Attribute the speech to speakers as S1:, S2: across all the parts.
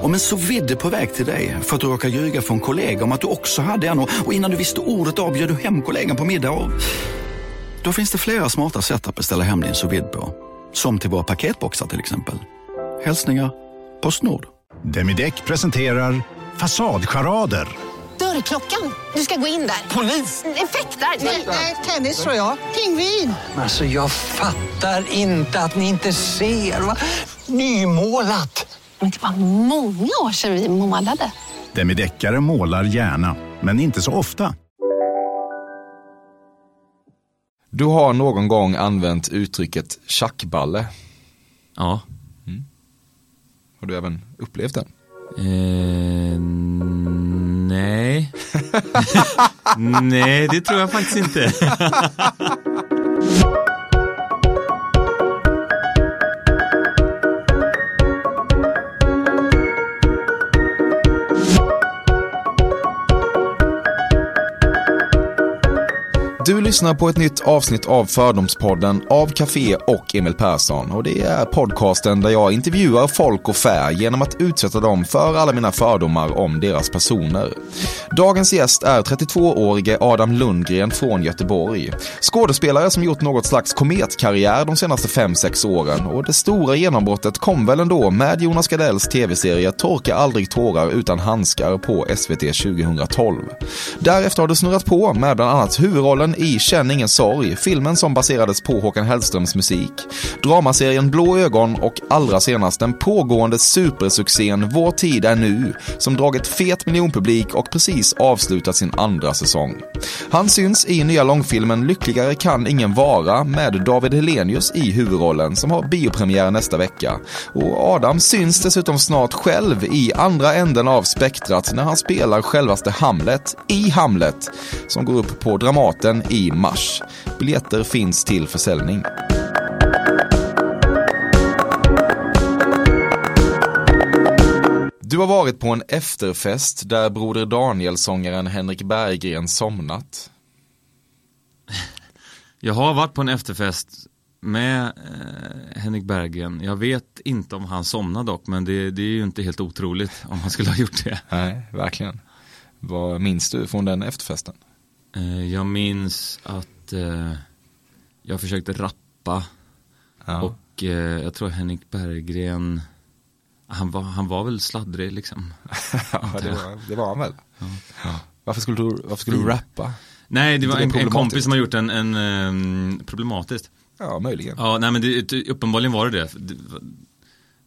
S1: Om en så vidde på väg till dig för att du råkar ljuga från kollega om att du också hade en och och innan du visste ordet av bjöd du hem kollegan på middag och... Då finns det flera smarta sätt att beställa hem din sous vide på. Som till våra paketboxar till exempel. Hälsningar Postnord.
S2: Demideck presenterar Fasadcharader.
S3: Dörrklockan. Du ska gå in där. Polis? Effektar? Nej, tennis tror jag. Pingvin.
S4: Alltså jag fattar inte att ni inte ser. Va? Nymålat!
S5: Men det var många år sedan vi målade.
S2: Demideckare målar gärna, men inte så ofta.
S6: Du har någon gång använt uttrycket tjackballe.
S7: Ja.
S6: Har du även upplevt den?
S7: Eh, nej. nej, det tror jag faktiskt inte.
S6: Du lyssnar på ett nytt avsnitt av Fördomspodden av Café och Emil Persson. Och det är podcasten där jag intervjuar folk och fä genom att utsätta dem för alla mina fördomar om deras personer. Dagens gäst är 32-årige Adam Lundgren från Göteborg. Skådespelare som gjort något slags kometkarriär de senaste 5-6 åren. Och det stora genombrottet kom väl ändå med Jonas Gardells tv-serie Torka aldrig tårar utan handskar på SVT 2012. Därefter har du snurrat på med bland annat huvudrollen i Känn ingen sorg, filmen som baserades på Håkan Hellströms musik, dramaserien Blå ögon och allra senast den pågående supersuccén Vår tid är nu, som dragit fet miljonpublik och precis avslutat sin andra säsong. Han syns i nya långfilmen Lyckligare kan ingen vara med David Helenius i huvudrollen som har biopremiär nästa vecka. Och Adam syns dessutom snart själv i andra änden av spektrat när han spelar självaste Hamlet i Hamlet som går upp på Dramaten i mars. Biljetter finns till försäljning. Du har varit på en efterfest där Broder Daniel-sångaren Henrik Berggren somnat.
S7: Jag har varit på en efterfest med eh, Henrik Berggren. Jag vet inte om han somnade dock, men det, det är ju inte helt otroligt om han skulle ha gjort det.
S6: Nej, verkligen. Vad minns du från den efterfesten?
S7: Eh, jag minns att eh, jag försökte rappa
S6: Ja.
S7: och eh, jag tror Henrik Berggren, han var, han var väl sladdrig liksom.
S6: ja, det, var, det var han väl? Varför skulle du, varför skulle du rappa?
S7: Nej, det var
S6: Det är
S7: en, en
S6: problematiskt.
S7: kompis som har gjort en, en ehm, problematiskt.
S6: Ja, möjligen.
S7: Ja, nej men det, uppenbarligen var det det. Det var-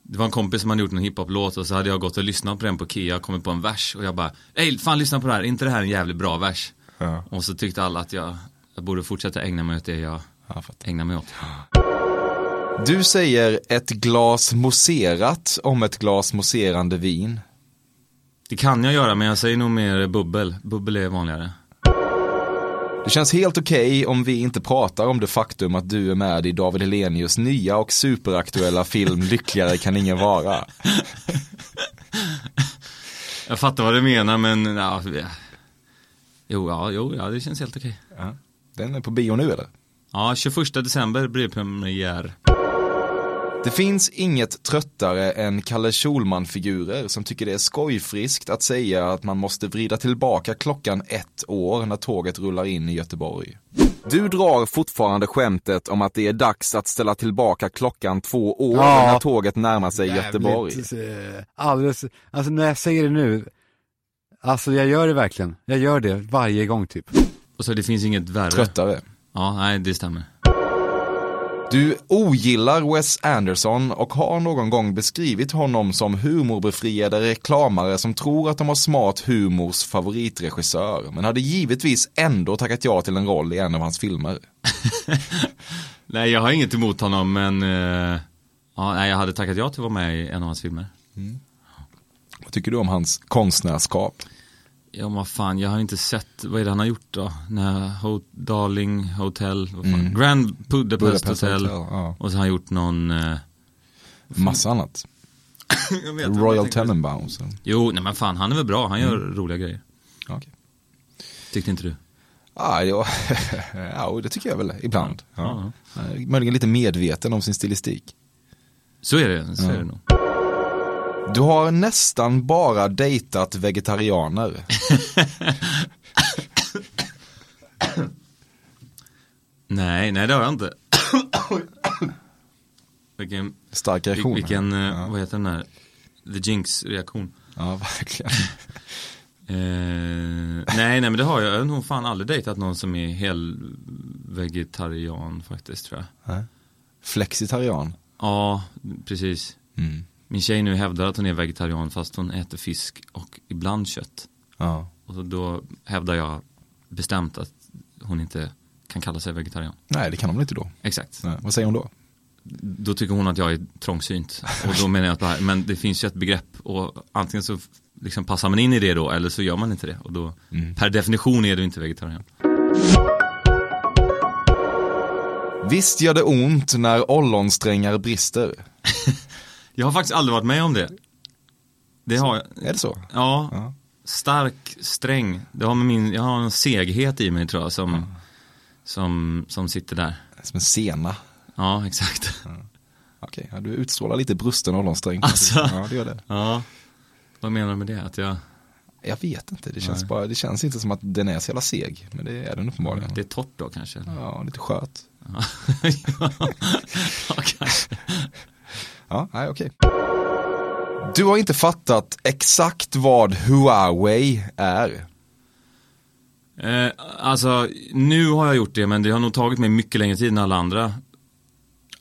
S7: Det var en kompis som hade gjort en hiphop-låt och så hade jag gått och lyssnat på den på Kia, kommit på en vers och jag bara, ej fan lyssna på det här, är inte det här en jävligt bra vers?
S6: Ja.
S7: Och så tyckte alla att jag, jag borde fortsätta ägna mig åt det jag
S6: Ja, fattar.
S7: ägnar mig åt.
S6: Du säger ett glas moserat om ett glas moserande vin.
S7: Det kan jag göra men jag säger nog mer bubbel, bubbel är vanligare.
S6: Det känns helt okej om vi inte pratar om det faktum att du är med i David Helenius nya och superaktuella film Lyckligare kan ingen vara.
S7: Jag fattar vad du menar men, ja, ja. Jo, ja, jo, ja, det känns helt okej.
S6: Den är på bio nu eller?
S7: Ja, 21 december blir det premiär.
S6: Det finns inget tröttare än Kalle Schulman-figurer som tycker det är skojfriskt att säga att man måste vrida tillbaka klockan ett år när tåget rullar in i Göteborg. Du drar fortfarande skämtet om att det är dags att ställa tillbaka klockan två år
S8: Ja.
S6: när tåget närmar sig Göteborg.
S8: Jävligt, eh, Alldeles, alltså när jag säger det nu, alltså jag gör det verkligen. Jag gör det varje gång typ.
S7: Och så det finns inget värre.
S6: Tröttare.
S7: Ja, nej det stämmer.
S6: Du ogillar Wes Anderson och har någon gång beskrivit honom som humorbefriade reklamare som tror att de har smart humors favoritregissör, men hade givetvis ändå tackat ja till en roll i en av hans filmer.
S7: Nej, jag har inget emot honom, men eh, ja, nej, jag hade tackat ja till att vara med i en av hans filmer.
S6: Vad tycker du om hans konstnärskap?
S7: Ja, men vad fan, jag har inte sett, vad är det han har gjort då? Nej, Ho- Darling Hotel, vad fan? Grand Mm. Budapest,
S6: Budapest
S7: Hotel.
S6: Hotel, ja.
S7: Och så har han gjort någon... eh,
S6: Massa annat.
S7: jag vet inte, jag
S6: Royal
S7: tänker- Mm.
S6: Tenenbaums.
S7: Jo, nej men fan, han är väl bra, han gör roliga grejer.
S6: Ja.
S7: Tyckte inte du?
S6: Ah, ja, ja, det tycker jag väl ibland. Ja. Eh,
S7: Ja.
S6: Möjligen lite medveten om sin stilistik.
S7: Så är det, så är det nog.
S6: Du har nästan bara dejtat vegetarianer.
S7: Nej, nej det har jag inte. vilken,
S6: Stark reaktion.
S7: vil- vilken eh,
S6: Ja.
S7: vad heter den här, the jinx-reaktion.
S6: ja, verkligen.
S7: Eh, nej, nej men det har jag. Jag har nog fan aldrig dejtat någon som är helvegetarian faktiskt tror jag.
S6: Flexitarian.
S7: Ja, precis.
S6: Mm.
S7: Min tjej nu hävdar att hon är vegetarian fast hon äter fisk och ibland kött.
S6: Ja.
S7: Och då hävdar jag bestämt att hon inte kan kalla sig vegetarian.
S6: Nej, det kan de väl inte då.
S7: Exakt.
S6: Nej. Vad säger hon då?
S7: Då tycker hon att jag är trångsynt. Och då menar jag att det här, men det finns ju ett begrepp och antingen så f- liksom passar man in i det då eller så gör man inte det. Och då, per definition är du inte vegetarian.
S6: Visst gör det ont när ollonsträngar brister.
S7: Jag har faktiskt aldrig varit med om det. Det har jag.
S6: Är det så?
S7: Ja,
S6: Ja.
S7: stark, sträng. Det har med min, jag har en seghet i mig tror jag som, som, som sitter där.
S6: Som en sena.
S7: Ja, exakt.
S6: Okej, ja, du utstrålar lite brusten ollonsträng.
S7: Alltså.
S6: Ja, det gör det.
S7: Ja. Vad menar du med det? Att jag,
S6: Jag vet inte, det känns, bara, det känns inte som att den är så jävla seg. Men det är den uppenbarligen.
S7: det är torrt då kanske? eller?
S6: Ja, lite skört.
S7: Ja, ja kanske.
S6: Ja, nej okej. Du har inte fattat exakt vad Huawei är.
S7: Eh, alltså, nu har jag gjort det, men det har nog tagit mig mycket längre tid än alla andra.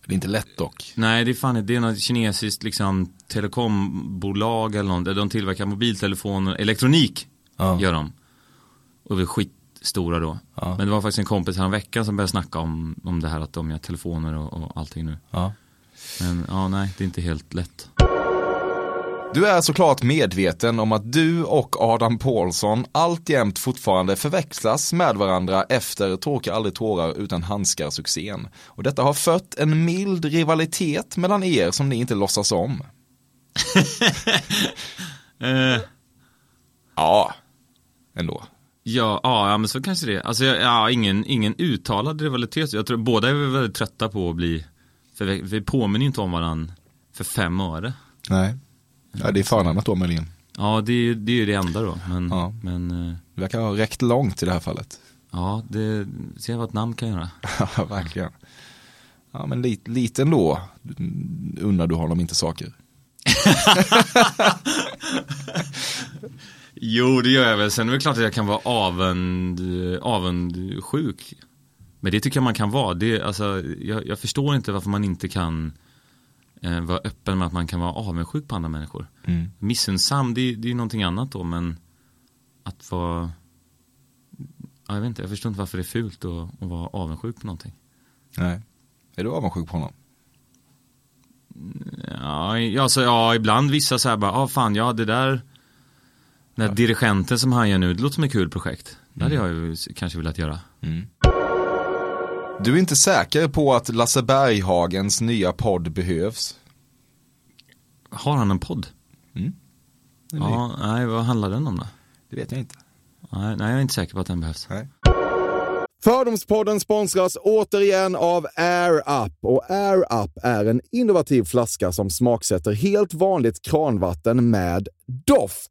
S6: Det är inte lätt dock.
S7: Nej, det är fan inte- det är något kinesiskt liksom, telekombolag eller något. där De tillverkar mobiltelefoner, elektronik
S6: Ja.
S7: gör de. Och det är skitstora då.
S6: Ja.
S7: Men det var faktiskt en kompis här veckan som började snacka om, om det här att de gör telefoner och, och allting nu.
S6: Ja.
S7: Men ja, nej, det är inte helt lätt.
S6: Du är såklart medveten om att du och Adam Paulsson alltjämt fortfarande förväxlas med varandra efter Torka aldrig tårar utan handskar-succén. Och detta har fött en mild rivalitet mellan er som ni inte låtsas om.
S7: Eh,
S6: Ja, ändå.
S7: Ja, ja, ja, men så kanske det är. Alltså, jag- ja, ingen, ingen uttalad rivalitet. Jag tror båda är väl väldigt trötta på att bli, för vi, vi påminner ju inte om varandra för fem öre.
S6: Nej, ja, det är förnamnet då möjligen.
S7: Ja, det är ju det, är ju det enda då. Men,
S6: Ja.
S7: men eh,
S6: Det verkar ha räckt långt i det här fallet.
S7: ja, det ser jag vad ett namn kan göra.
S6: Ja, verkligen. Ja, men lite, lite ändå mm, unnar du honom inte saker.
S7: Jo, det gör jag väl. Sen är det klart att jag kan vara avund, avundsjuk. Men det tycker jag man kan vara. Det, alltså, jag, jag förstår inte varför man inte kan eh, vara öppen med att man kan vara avundsjuk på andra människor.
S6: Mm.
S7: Missunnsam, det, det är ju någonting annat då, men att vara... Ja, jag vet inte, jag förstår inte varför det är fult att, att vara avundsjuk på någonting.
S6: Nej. Är du avundsjuk på honom?
S7: Ja, i- alltså, ja ibland vissa så här bara, ah, fan, ja det där, den här dirigenten som han gör nu, det låter som ett kul projekt. Det hade
S9: Mm.
S7: jag ju s- kanske velat göra.
S6: Du är inte säker på att Lasse Berghagens nya podd behövs?
S7: Har han en podd?
S6: Mm.
S7: Ja, nej, vad handlar den om då?
S6: Det vet jag inte.
S7: Nej, nej, jag är inte säker på att den behövs.
S6: Nej.
S10: Fördomspodden sponsras återigen av Air Up. Och Air Up är en innovativ flaska som smaksätter helt vanligt kranvatten med doft.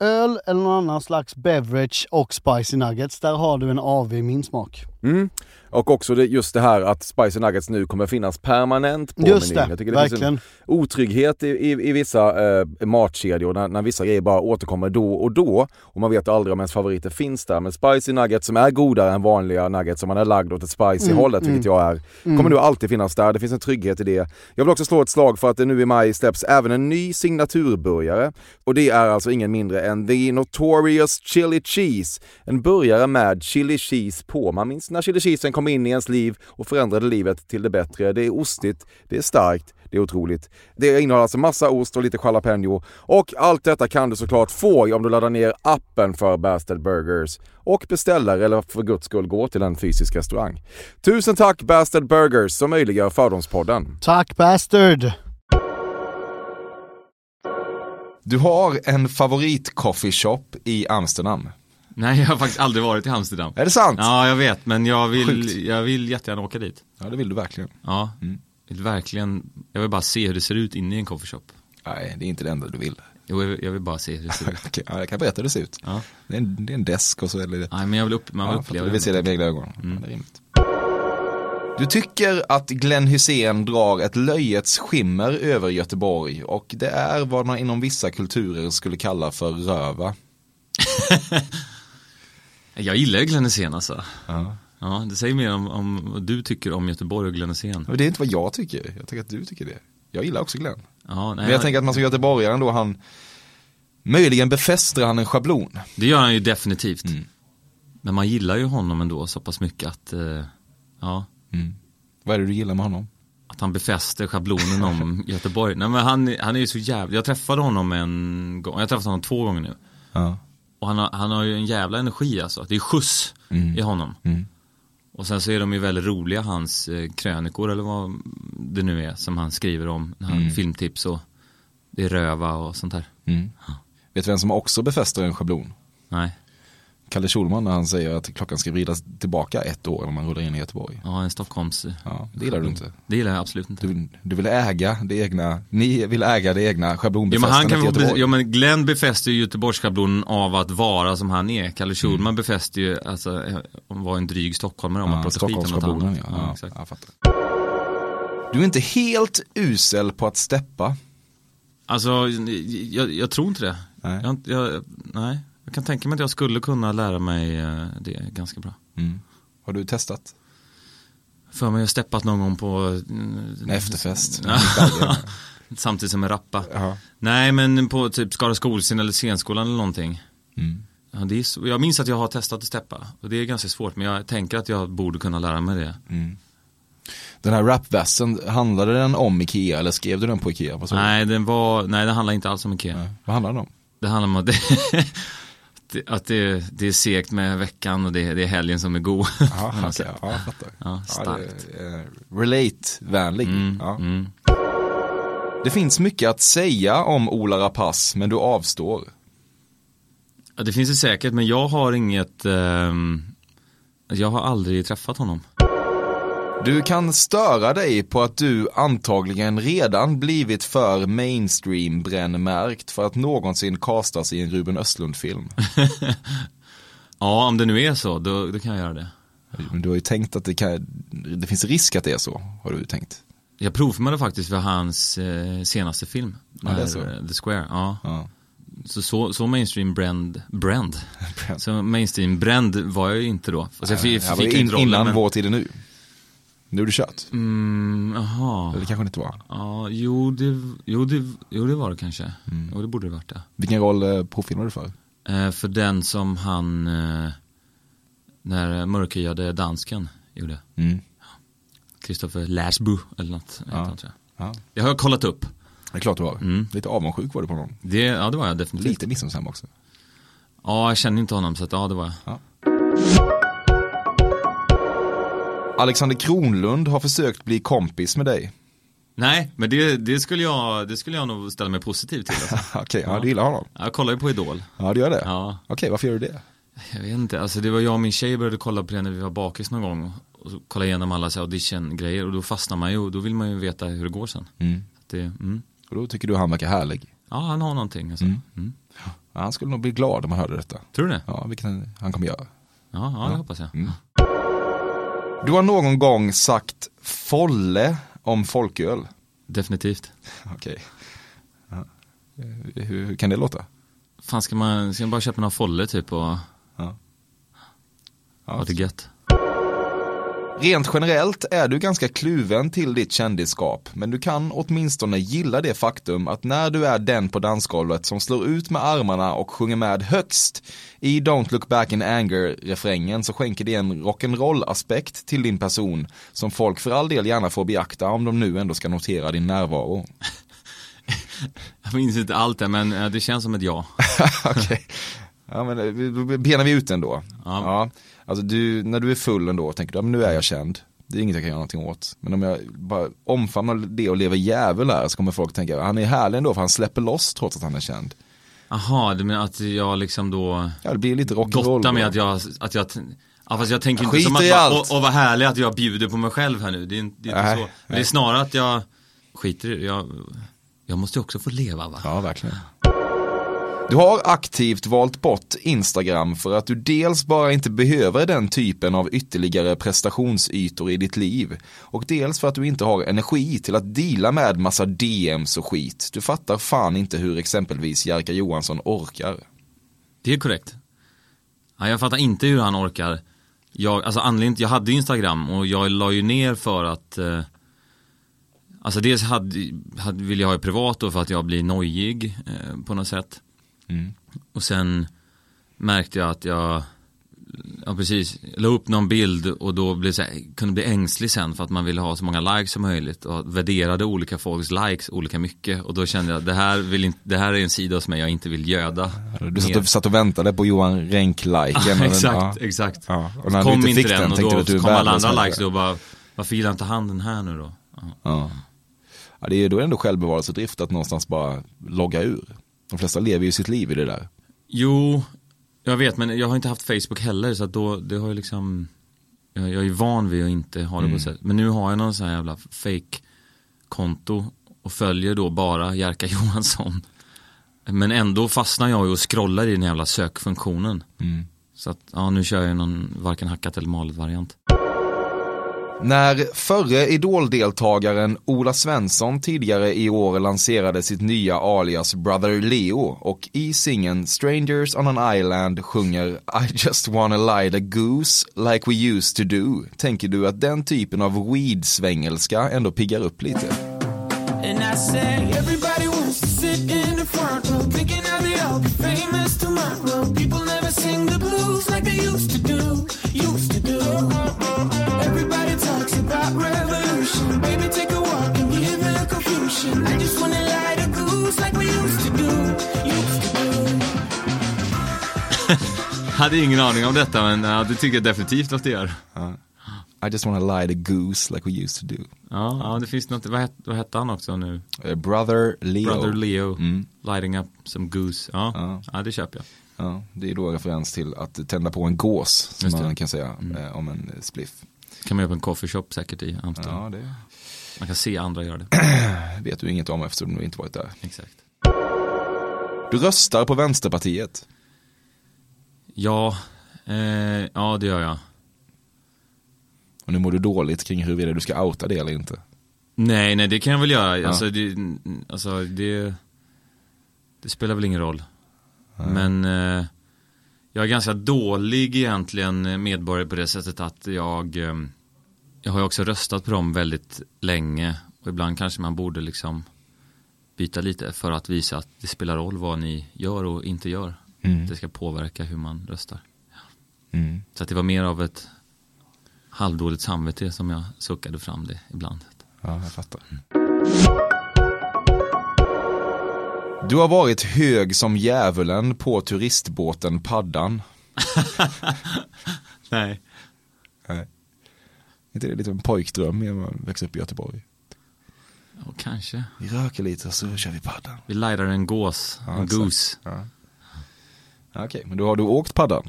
S11: öl eller någon annan slags beverage och spicy nuggets, där har du en AV i min smak.
S6: Och också det, just det här att Spicy Nuggets nu kommer finnas permanent på
S11: Just
S6: menyn.
S11: det,
S6: Jag tycker det
S11: verkligen.
S6: finns en otrygghet i, i, i vissa eh, matkedjor när, när vissa grejer bara återkommer då och då. Och man vet aldrig om ens favoriter finns där. Men Spicy Nuggets som är godare än vanliga nuggets som man är lagd åt ett spicy-hållet, vilket jag är, kommer nu alltid finnas där. Det finns en trygghet i det. Jag vill också slå ett slag för att det nu i maj släpps även en ny signaturburgare. Och det är alltså ingen mindre än The Notorious Chili Cheese. En burgare med chili cheese på. Man minns när chili cheesen kom in i ens liv och förändrade livet till det bättre. Det är ostigt, det är starkt, det är otroligt. Det innehåller alltså massa ost och lite jalapeno. Och allt detta kan du såklart få om du laddar ner appen för Bastard Burgers och beställer eller för guds skull gå till en fysisk restaurang. Tusen tack Bastard Burgers som möjliggör Fördomspodden.
S11: Tack bastard!
S9: Du har en favorit coffee shop i Amsterdam.
S7: Nej, jag har faktiskt aldrig varit i Amsterdam.
S9: Är det sant?
S7: Ja, jag vet, men jag
S9: Sjukt. Mm.
S7: vill, jag vill jättegärna åka dit.
S9: Ja, det vill du verkligen.
S7: Ja, vill verkligen, jag vill bara se hur det ser ut inne i en coffeeshop.
S9: Nej, det är inte det enda du vill.
S7: Jo, jag vill- jag vill bara se hur det ser ut.
S9: Okej, ja, jag kan berätta hur det ser ut.
S7: Ja.
S9: Det, är en, det är en desk och så är det lite...
S7: Nej, men jag vill upp, man vill
S9: Ja, för att
S7: uppleva Mm.
S9: du vill se
S7: det.
S9: det med egna ögon. Ja, det är rimligt. Du tycker att Glenn Hussein drar ett löjets skimmer över Göteborg och det är vad man inom vissa kulturer skulle kalla för röva.
S7: Jag gillar ju Glenn Hysén alltså.
S9: Ja.
S7: Ja, det säger mer om, om vad du tycker om Göteborg och Glenn Hysén.
S9: Men det är inte vad jag tycker, jag tycker att du tycker det. Jag gillar också Glenn.
S7: Ja, nej,
S9: Men jag tänker att man som göteborgare ändå, han,
S6: Möjligen befäster han en schablon.
S7: Det gör han ju definitivt.
S9: Mm.
S7: Men man gillar ju honom ändå så pass mycket att, eh, ja, Mm.
S6: Vad är det du gillar med honom?
S7: att han befäster schablonen om Göteborg. Nej men han, han är ju så jävla, jag träffade honom en gång, jag har träffat honom två gånger nu.
S6: Ja.
S7: Och han har, han har ju en jävla energi alltså, det är skjuts
S9: Mm.
S7: i honom.
S6: Mm,
S7: Och sen så är de ju väldigt roliga, hans eh, krönikor eller vad det nu är som han skriver om, när
S6: Mm.
S7: han, filmtips och det är röva och sånt där.
S6: Vet du vem som också befäster en schablon?
S7: Nej,
S6: Kalle Schulman när han säger att klockan ska vridas tillbaka ett år när man rullar in i Göteborg.
S7: ja en Stockholms... eh,
S6: Ja, det gillar du inte.
S7: Det gillar jag absolut inte.
S6: Du, du vill äga det egna, ni vill äga det egna
S7: Ja, men han
S6: schablonbefästandet
S7: kan
S6: i
S7: få be-
S6: Göteborg.
S7: ja, men Glenn befäster ju Göteborgsschablonen av att vara som han är. Kalle Schulman befäster ju alltså, eh, om var en dryg stockholmare om man
S6: Mm. Ja,
S7: pratar skit om något
S6: Stockholmsschablonen,
S7: annat.
S6: ja. ja,
S7: exakt.
S6: jag fattar. Du är inte helt usel på att steppa.
S7: Alltså, jag, jag tror inte det.
S6: Nej.
S7: Jag, har inte- jag, nej. jag kan tänka mig att jag skulle kunna lära mig eh, det ganska bra.
S6: Har du testat?
S7: För mig har steppat någon gång på, mm,
S6: En efterfest?
S7: samtidigt som en rappa.
S6: Ja.
S7: Nej, men på typ Skara skolscen eller scenskolan eller någonting.
S6: Mm.
S7: Ja, det är så, jag minns att jag har testat att steppa och det är ganska svårt men jag tänker att jag borde kunna lära mig det.
S6: Den här rapvässen, handlade den om Ikea eller skrev du den på Ikea? Vad sa du?
S7: Nej, den var, nej, det handlar inte alls om Ikea.
S6: Nej. Vad handlar den om?
S7: Det handlar om att, det, att det, det är segt med veckan och det, det är helgen som är god.
S6: Ja,
S7: Men alltså,
S6: okej. ja, jag fattar.
S7: Ja, starkt.
S6: Ja, det är, eh, Relate-vänlig.
S7: Mm,
S6: Ja.
S7: mm.
S6: Det finns mycket att säga om Ola Rapace, men du avstår.
S7: Ja, det finns det säkert, men jag har inget, ehm, jag har aldrig träffat honom.
S6: Du kan störa dig på att du antagligen redan blivit för mainstream-brännmärkt för att någonsin castas i en Ruben Östlund-film.
S7: Ja, om det nu är så, då, då kan jag göra det.
S6: Men du har ju tänkt att det, kan, det finns risk att det är så, har du ju tänkt.
S7: Jag provfilmade faktiskt för hans eh, senaste film,
S6: Ja, det är
S7: där,
S6: så.
S7: eh, The Square. Ja.
S6: Ja.
S7: Så, så, så mainstream brand, brand. Så mainstream brand var jag ju inte då. Fast jag fick,
S6: Det här
S7: fick
S6: var
S7: ju
S6: ju Äh, in,
S7: inte rollen,
S6: innan
S7: men-
S6: vår tid är nu. Nu är det kört.
S7: Mm, Jaha.
S6: Eller kanske det inte var.
S7: Ja, jo det, jo, det, jo det var det kanske.
S6: Mm.
S7: Jo det borde det varit det.
S6: Vilken roll eh, provfilmade du för?
S7: Eh, för den som han, eh, när mörkhyade dansken gjorde.
S6: Mm.
S7: Kristoffer Läsbo eller något. heter han, tror jag.
S6: Ja.
S7: Det har jag kollat upp.
S6: Det är klart du var.
S7: Mm.
S6: Lite avundsjuk var du på honom.
S7: Det, ja det var jag definitivt.
S6: Lite missunnsam också.
S7: Ja jag känner inte honom så att, ja det var jag.
S6: Alexander Kronlund har försökt bli kompis med dig.
S7: Nej men det, det, skulle jag, det skulle jag nog ställa mig positiv till. Alltså.
S6: Okej, ja. du gillar honom.
S7: Jag kollar ju på Idol.
S6: Ja, du gör det.
S7: Ja.
S6: Okej, varför gör du det?
S7: Jag vet inte, alltså det var jag och min tjej började kolla på det när vi var bakis någon gång och så kollade igenom alla så här audition-grejer och då fastnar man ju och då vill man ju veta hur det går sen. Så att det, mm.
S6: Och då tycker du han verkar härlig.
S7: Ja, han har någonting alltså. Mm.
S6: Ja, han skulle nog bli glad om han hörde detta.
S7: Tror du det? Ja,
S6: Ja, vilket han, han kommer göra.
S7: ja, Mm. det hoppas jag.
S6: Du har någon gång sagt folle om folköl.
S7: Definitivt.
S6: Okej. Ja. Eh, Hur, hur kan det låta?
S7: Fan, ska man, ska man bara köpa några folle typ och ha
S6: Ja.
S7: det gött?
S6: Rent generellt är du ganska kluven till ditt kändisskap, men du kan åtminstone gilla det faktum att när du är den på dansgolvet som slår ut med armarna och sjunger med högst i Don't look back in anger-refrängen så skänker det en rock'n'roll-aspekt till din person som folk för all del gärna får beakta om de nu ändå ska notera din närvaro.
S7: Jag minns inte allt det, men eh, det känns som ett ja.
S6: Okej. Ja, men eh, vi- då benar vi ut ändå. Ja. Alltså du, när du är full ändå tänker du, ja, men nu är jag känd. Det är inget jag kan göra någonting åt. Men om jag bara omfamnar det och lever djävul här så kommer folk tänka, han är härlig ändå för han släpper loss trots att han är känd.
S7: Jaha, du menar att jag liksom då
S6: Ja, det blir lite rock'n'roll.
S7: gottar med
S6: då.
S7: att jag, att jag Ja, fast jag tänker
S6: Ja,
S7: inte som
S6: skit i
S7: att, bara,
S6: allt.
S7: och, och vad härligt att jag bjuder på mig själv här nu. Det är, inte- det är inte
S6: Nej,
S7: så. Men det är
S6: nej.
S7: snarare att jag skiter i det. jag, jag måste ju också få leva va?
S6: Ja, verkligen. Du har aktivt valt bort Instagram för att du dels bara inte behöver den typen av ytterligare prestationsytor i ditt liv och dels för att du inte har energi till att dela med massa DMs och skit. Du fattar fan inte hur exempelvis Jerka Johansson orkar.
S7: Det är korrekt. Ja, jag fattar inte hur han orkar. Jag, alltså anledningen, jag hade ju Instagram och jag la ju ner för att eh, Alltså dels hade, hade, vill jag ha det privat då för att jag blir nojig eh, på något sätt.
S6: Mm.
S7: Och sen märkte jag att jag, ja precis, la upp någon bild och då blev så här, kunde bli ängslig sen för att man ville ha så många likes som möjligt och värderade olika folks likes olika mycket och då kände jag att det här, vill inte, det här är en sida hos mig jag inte vill göda.
S6: Du satt
S7: mer.
S6: och, satt och väntade på Johan Renck-liken.
S7: Ja,
S6: och den-
S7: Ah,
S6: ja.
S7: exakt, exakt.
S6: Ja, och
S7: Och
S6: när du
S7: kom
S6: inte
S7: inte,
S6: fick den
S7: den, och
S6: tänkte du
S7: då
S6: att du är
S7: kom alla
S6: värdelös
S7: andra
S6: människa.
S7: likes och bara, varför gillar inte han den här nu då? Ja.
S6: Ja. Ja, det är, då är det ändå självbevarelsedrift att någonstans bara logga ur. De flesta lever ju sitt liv i det där.
S7: Jo, jag vet men jag har inte haft Facebook heller så att då, det har ju liksom Jag, jag är ju van vid att inte ha
S6: Mm.
S7: det på sätt Men nu har jag någon sån här jävla fake konto och följer då bara Jerka Johansson Men ändå fastnar jag ju och scrollar i den jävla sökfunktionen
S6: Mm.
S7: Så att, ja nu kör jag någon varken hackat eller malet variant
S6: När förre idoldeltagaren Ola Svensson tidigare i år lanserade sitt nya alias Brother Leo och i singeln Strangers on an Island sjunger I just wanna light a goose like we used to do tänker du att den typen av weed-svängelska ändå piggar upp lite?
S12: And I say, everybody wants to sit in the front row, thinking how they all be famous tomorrow. People never sing the blues like they used to do, used to do. Everybody talks about revolution. Baby, take a walk and give the confusion. I just wanna light a goose like we used to do, used to do.
S7: Hade ingen aning om detta men ja, det tycker jag definitivt att det gör
S6: I just wanna light a goose like we used to do.
S7: Ja, ja det finns något, vad, het, vad hette han också nu?
S6: Eh, Brother Leo.
S7: Brother Leo,
S6: Mm.
S7: lighting up some goose. Ja,
S6: Ja.
S7: ja. det köper jag.
S6: Ja, det är då en referens till att tända på en gås, som
S7: Just det. Mm.
S6: man kan säga eh, om en eh, spliff.
S7: kan man göra på en coffeeshop säkert i Amsterdam.
S6: Ja, det
S7: Man kan se andra göra det.
S6: vet du inget om eftersom du inte varit där.
S7: Exakt.
S6: Du röstar på Vänsterpartiet.
S7: Ja, eh, ja det gör jag.
S6: Och nu mår du dåligt kring huruvida du ska outa det eller inte.
S7: Nej, nej det kan jag väl göra. Alltså, det, alltså, det, det spelar väl ingen roll. Men eh, jag är ganska dålig egentligen medborgare på det sättet att jag, eh, jag har ju också röstat på dem väldigt länge och ibland kanske man borde liksom byta lite för att visa att det spelar roll vad ni gör och inte gör. Det ska påverka hur man röstar.
S6: Mm.
S7: Så att det var mer av ett halvdåligt samvete som jag suckade fram det ibland.
S6: Ja, jag fattar. Du har varit hög som djävulen på turistbåten Paddan.
S7: Nej.
S6: Är inte det lite av en pojkdröm när man växer upp i Göteborg?
S7: Ja, kanske.
S6: Vi röker lite och så kör vi paddan.
S7: Vi lightar en gås,
S6: Ja,
S7: en
S6: exakt.
S7: goose.
S6: Ja. Ja, Okej, men då har du åkt paddan?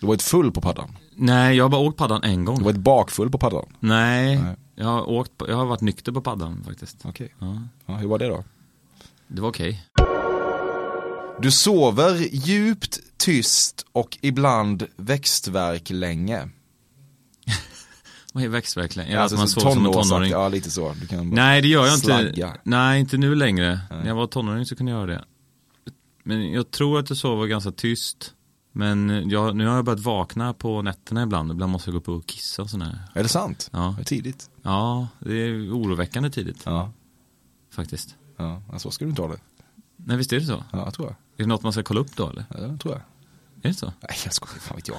S6: Du har varit full på paddan?
S7: Nej, jag har bara åkt paddan en
S6: Du har
S7: gång.
S6: varit bakfull på paddan?
S7: Nej,
S6: Nej.
S7: Jag, har åkt, på- jag har varit nykter på paddan faktiskt.
S6: Okej.
S7: Ja,
S6: Ja, hur var det då?
S7: det var okej.
S6: Du sover djupt, tyst och ibland växtverk länge.
S7: Vad är växtverkligen? Ja, att man sover som en
S6: tonårsaktig-
S7: tonåring.
S6: Alltså, Ja, lite så. Du kan bara...
S7: Nej, det gör jag inte.
S6: Slagga.
S7: Nej, inte nu längre. När jag var tonåring så kunde jag göra det. Men jag tror att jag sover ganska tyst. Men jag, nu har jag börjat vakna på nätterna ibland. Ibland måste jag gå upp och kissa och sådär.
S6: Är det sant?
S7: Ja.
S6: Det är tidigt.
S7: Ja, det är oroväckande tidigt
S6: Ja.
S7: faktiskt.
S6: ja. ja, så ska du inte ha det.
S7: Nej, visst är det så?
S6: Ja, jag tror jag.
S7: Är det något man ska kolla upp då eller?
S6: Ja, det tror jag.
S7: Är det så?
S6: Nej, jag skojar. Fan vet jag.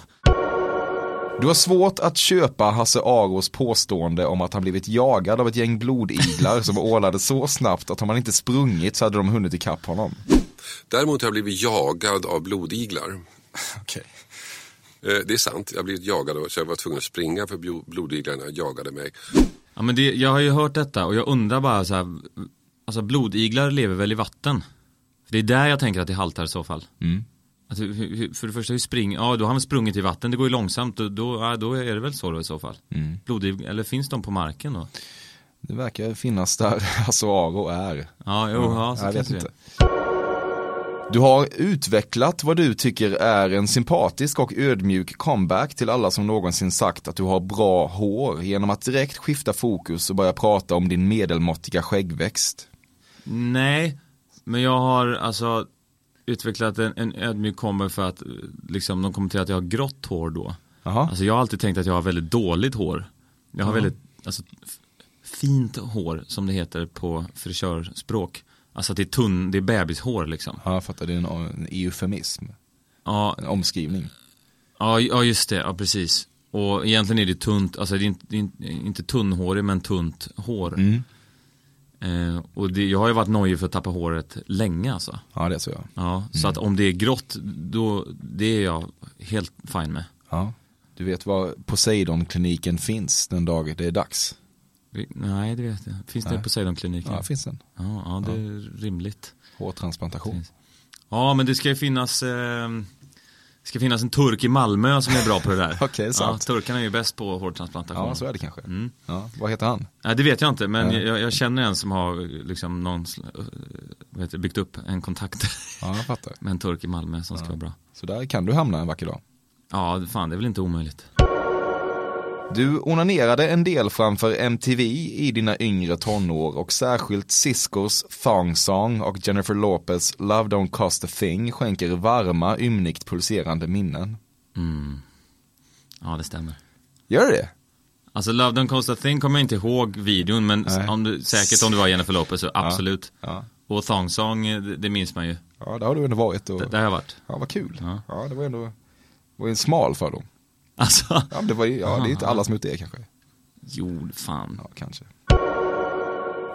S6: Du har svårt att köpa Hasse Aros påstående om att han blivit jagad av ett gäng blodiglar som ålade så snabbt att om han inte sprungit så hade de hunnit ikapp honom.
S13: Däremot har jag blivit jagad av blodiglar.
S6: Okej.
S13: Eh, Det är sant, jag har blivit jagad av- så jag var tvungen att springa för blo- blodiglarna jagade mig.
S7: Ja, men det, jag har ju hört detta och jag undrar bara så här, alltså blodiglar lever väl i vatten? För det är där jag tänker att det haltar i så fall.
S6: Mm.
S7: Att, hur- hur- för det första, hur spring, ja då har han väl sprungit i vatten, det går ju långsamt, då, då, ja, då är det väl så då i så fall.
S6: Mm.
S7: Blodiglar, eller finns de på marken då?
S6: Det verkar finnas där Hasse Aro är.
S7: Ja, jo, ja, så
S6: jag vet
S7: kanske det
S6: inte. Du har utvecklat vad du tycker är en sympatisk och ödmjuk comeback till alla som någonsin sagt att du har bra hår genom att direkt skifta fokus och börja prata om din medelmåttiga skäggväxt.
S7: Nej, men jag har alltså utvecklat en, en ödmjuk kommer för att eh, liksom, de kommenterar att jag har grått hår då.
S6: Jaha.
S7: Alltså jag har alltid tänkt att jag har väldigt dåligt hår. Jag har väldigt, alltså, f- fint hår som det heter på frisörspråk. Alltså att det är tunn, det är bebishår liksom.
S6: Ja, jag fattar. Det är en, en eufemism.
S7: Ja.
S6: En omskrivning.
S7: Ja, ja just det, ja precis. Och egentligen är det tunt, alltså det är inte, det är inte- inte tunnhårig men tunt hår.
S6: Mm.
S7: Eh, och det, jag har ju varit nojig för att tappa håret länge alltså.
S6: Ja, det är så jag.
S7: Ja,
S6: Mm.
S7: så att om det är grått, då, det är jag helt fine med.
S6: Ja. Du vet var Poseidon-kliniken finns den dagen det är dags?
S7: Vi- Nej, det vet jag. Finns det
S6: Nej.
S7: på Seidonkliniken?
S6: Ja, finns den.
S7: Ja, ja det är rimligt.
S6: Hårtransplantation.
S7: Ja, men det ska ju finnas, eh, det ska finnas en turk i Malmö som är bra på det där.
S6: Okej, sant.
S7: Ja, turkarna är ju bäst på hårtransplantation.
S6: Ja, så är det kanske.
S7: Mm.
S6: Ja, vad heter han?
S7: Nej, det vet jag inte, men
S6: Nej.
S7: jag, jag känner en som har liksom någon, sl- eh, vad heter det, byggt upp en kontakt
S6: Ja, jag fattar.
S7: med en turk i Malmö som ska vara bra.
S6: Så där kan du hamna en vacker dag.
S7: Ja, fan det är väl inte omöjligt.
S6: Du onanerade en del framför MTV i dina yngre tonår och särskilt Ciscos Thong Song och Jennifer Lopez Love Don't Cost A Thing skänker varma, ymnigt pulserande minnen.
S7: Mm. Ja, det stämmer.
S6: Gör det?
S7: Alltså Love Don't Cost A Thing kommer jag inte ihåg videon, men s-
S6: Nej.
S7: om du, säkert om det var Jennifer Lopez, så absolut.
S6: Ja.
S7: Och Thong Song, eh, det, det minns man ju.
S6: Ja, där har du ändå varit. Och...
S7: Det, där har jag varit.
S6: Ja, vad kul.
S7: Ja.
S6: Ja, det var ändå det var ju en smal fördom.
S7: Alltså.
S6: Ja, men det, var ju, ja, det är inte alla som är ute i det kanske.
S7: Jo, fan.
S6: Ja, kanske.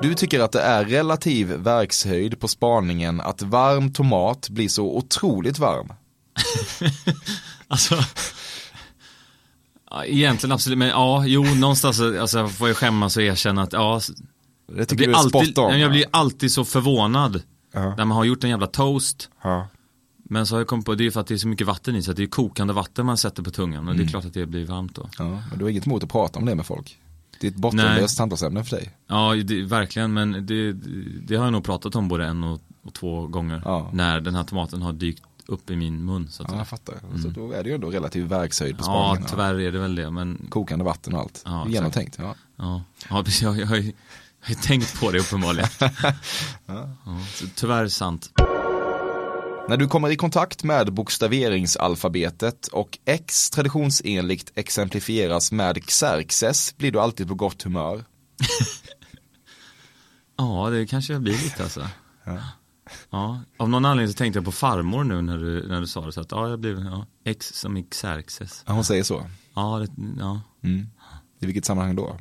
S6: Du tycker att det är relativ verkshöjd på spaningen att varm tomat blir så otroligt varm.
S7: Alltså. Ja, Egentligen absolut, men ja, jo, någonstans alltså, jag får jag skämmas och erkänna att ja.
S6: Det
S7: jag
S6: tycker
S7: blir,
S6: du är
S7: alltid,
S6: spot on.
S7: nej, jag blir alltid så förvånad
S6: Ja.
S7: när man har gjort en jävla toast.
S6: Ja.
S7: Men så har jag kommit på, det är ju för att det är så mycket vatten i så att det är kokande vatten man sätter på tungan och det är
S6: Mm.
S7: klart att det blir varmt då.
S6: Ja, men du har inget emot att prata om det med folk. Det är ett bottenlöst samtalsämne för dig.
S7: Ja, det, verkligen, men det, det har jag nog pratat om både en och, och två gånger.
S6: Ja.
S7: När den här tomaten har dykt upp i min mun. Så att
S6: Ja,
S7: säga.
S6: jag fattar. Så då är det ju ändå relativ verkshöjd på
S7: Mm. ja,
S6: spaningen.
S7: tyvärr är det väl det, men
S6: Kokande vatten och allt.
S7: Ja, exakt.
S6: Genomtänkt. Ja.
S7: ja, ja precis, jag, jag, har ju- jag har ju tänkt på det uppenbarligen.
S6: Ja.
S7: så tyvärr sant.
S6: När du kommer i kontakt med bokstaveringsalfabetet och X traditionsenligt exemplifieras med Xerxes blir du alltid på gott humör.
S7: Ja, det kanske jag blir lite alltså. Ja. av någon anledning så tänkte jag på farmor nu när du, när du sa det så att ja, jag blev ja, X som i Xerxes.
S6: Ja, hon säger så.
S7: Ja, det, ja.
S6: Mm. I vilket sammanhang då?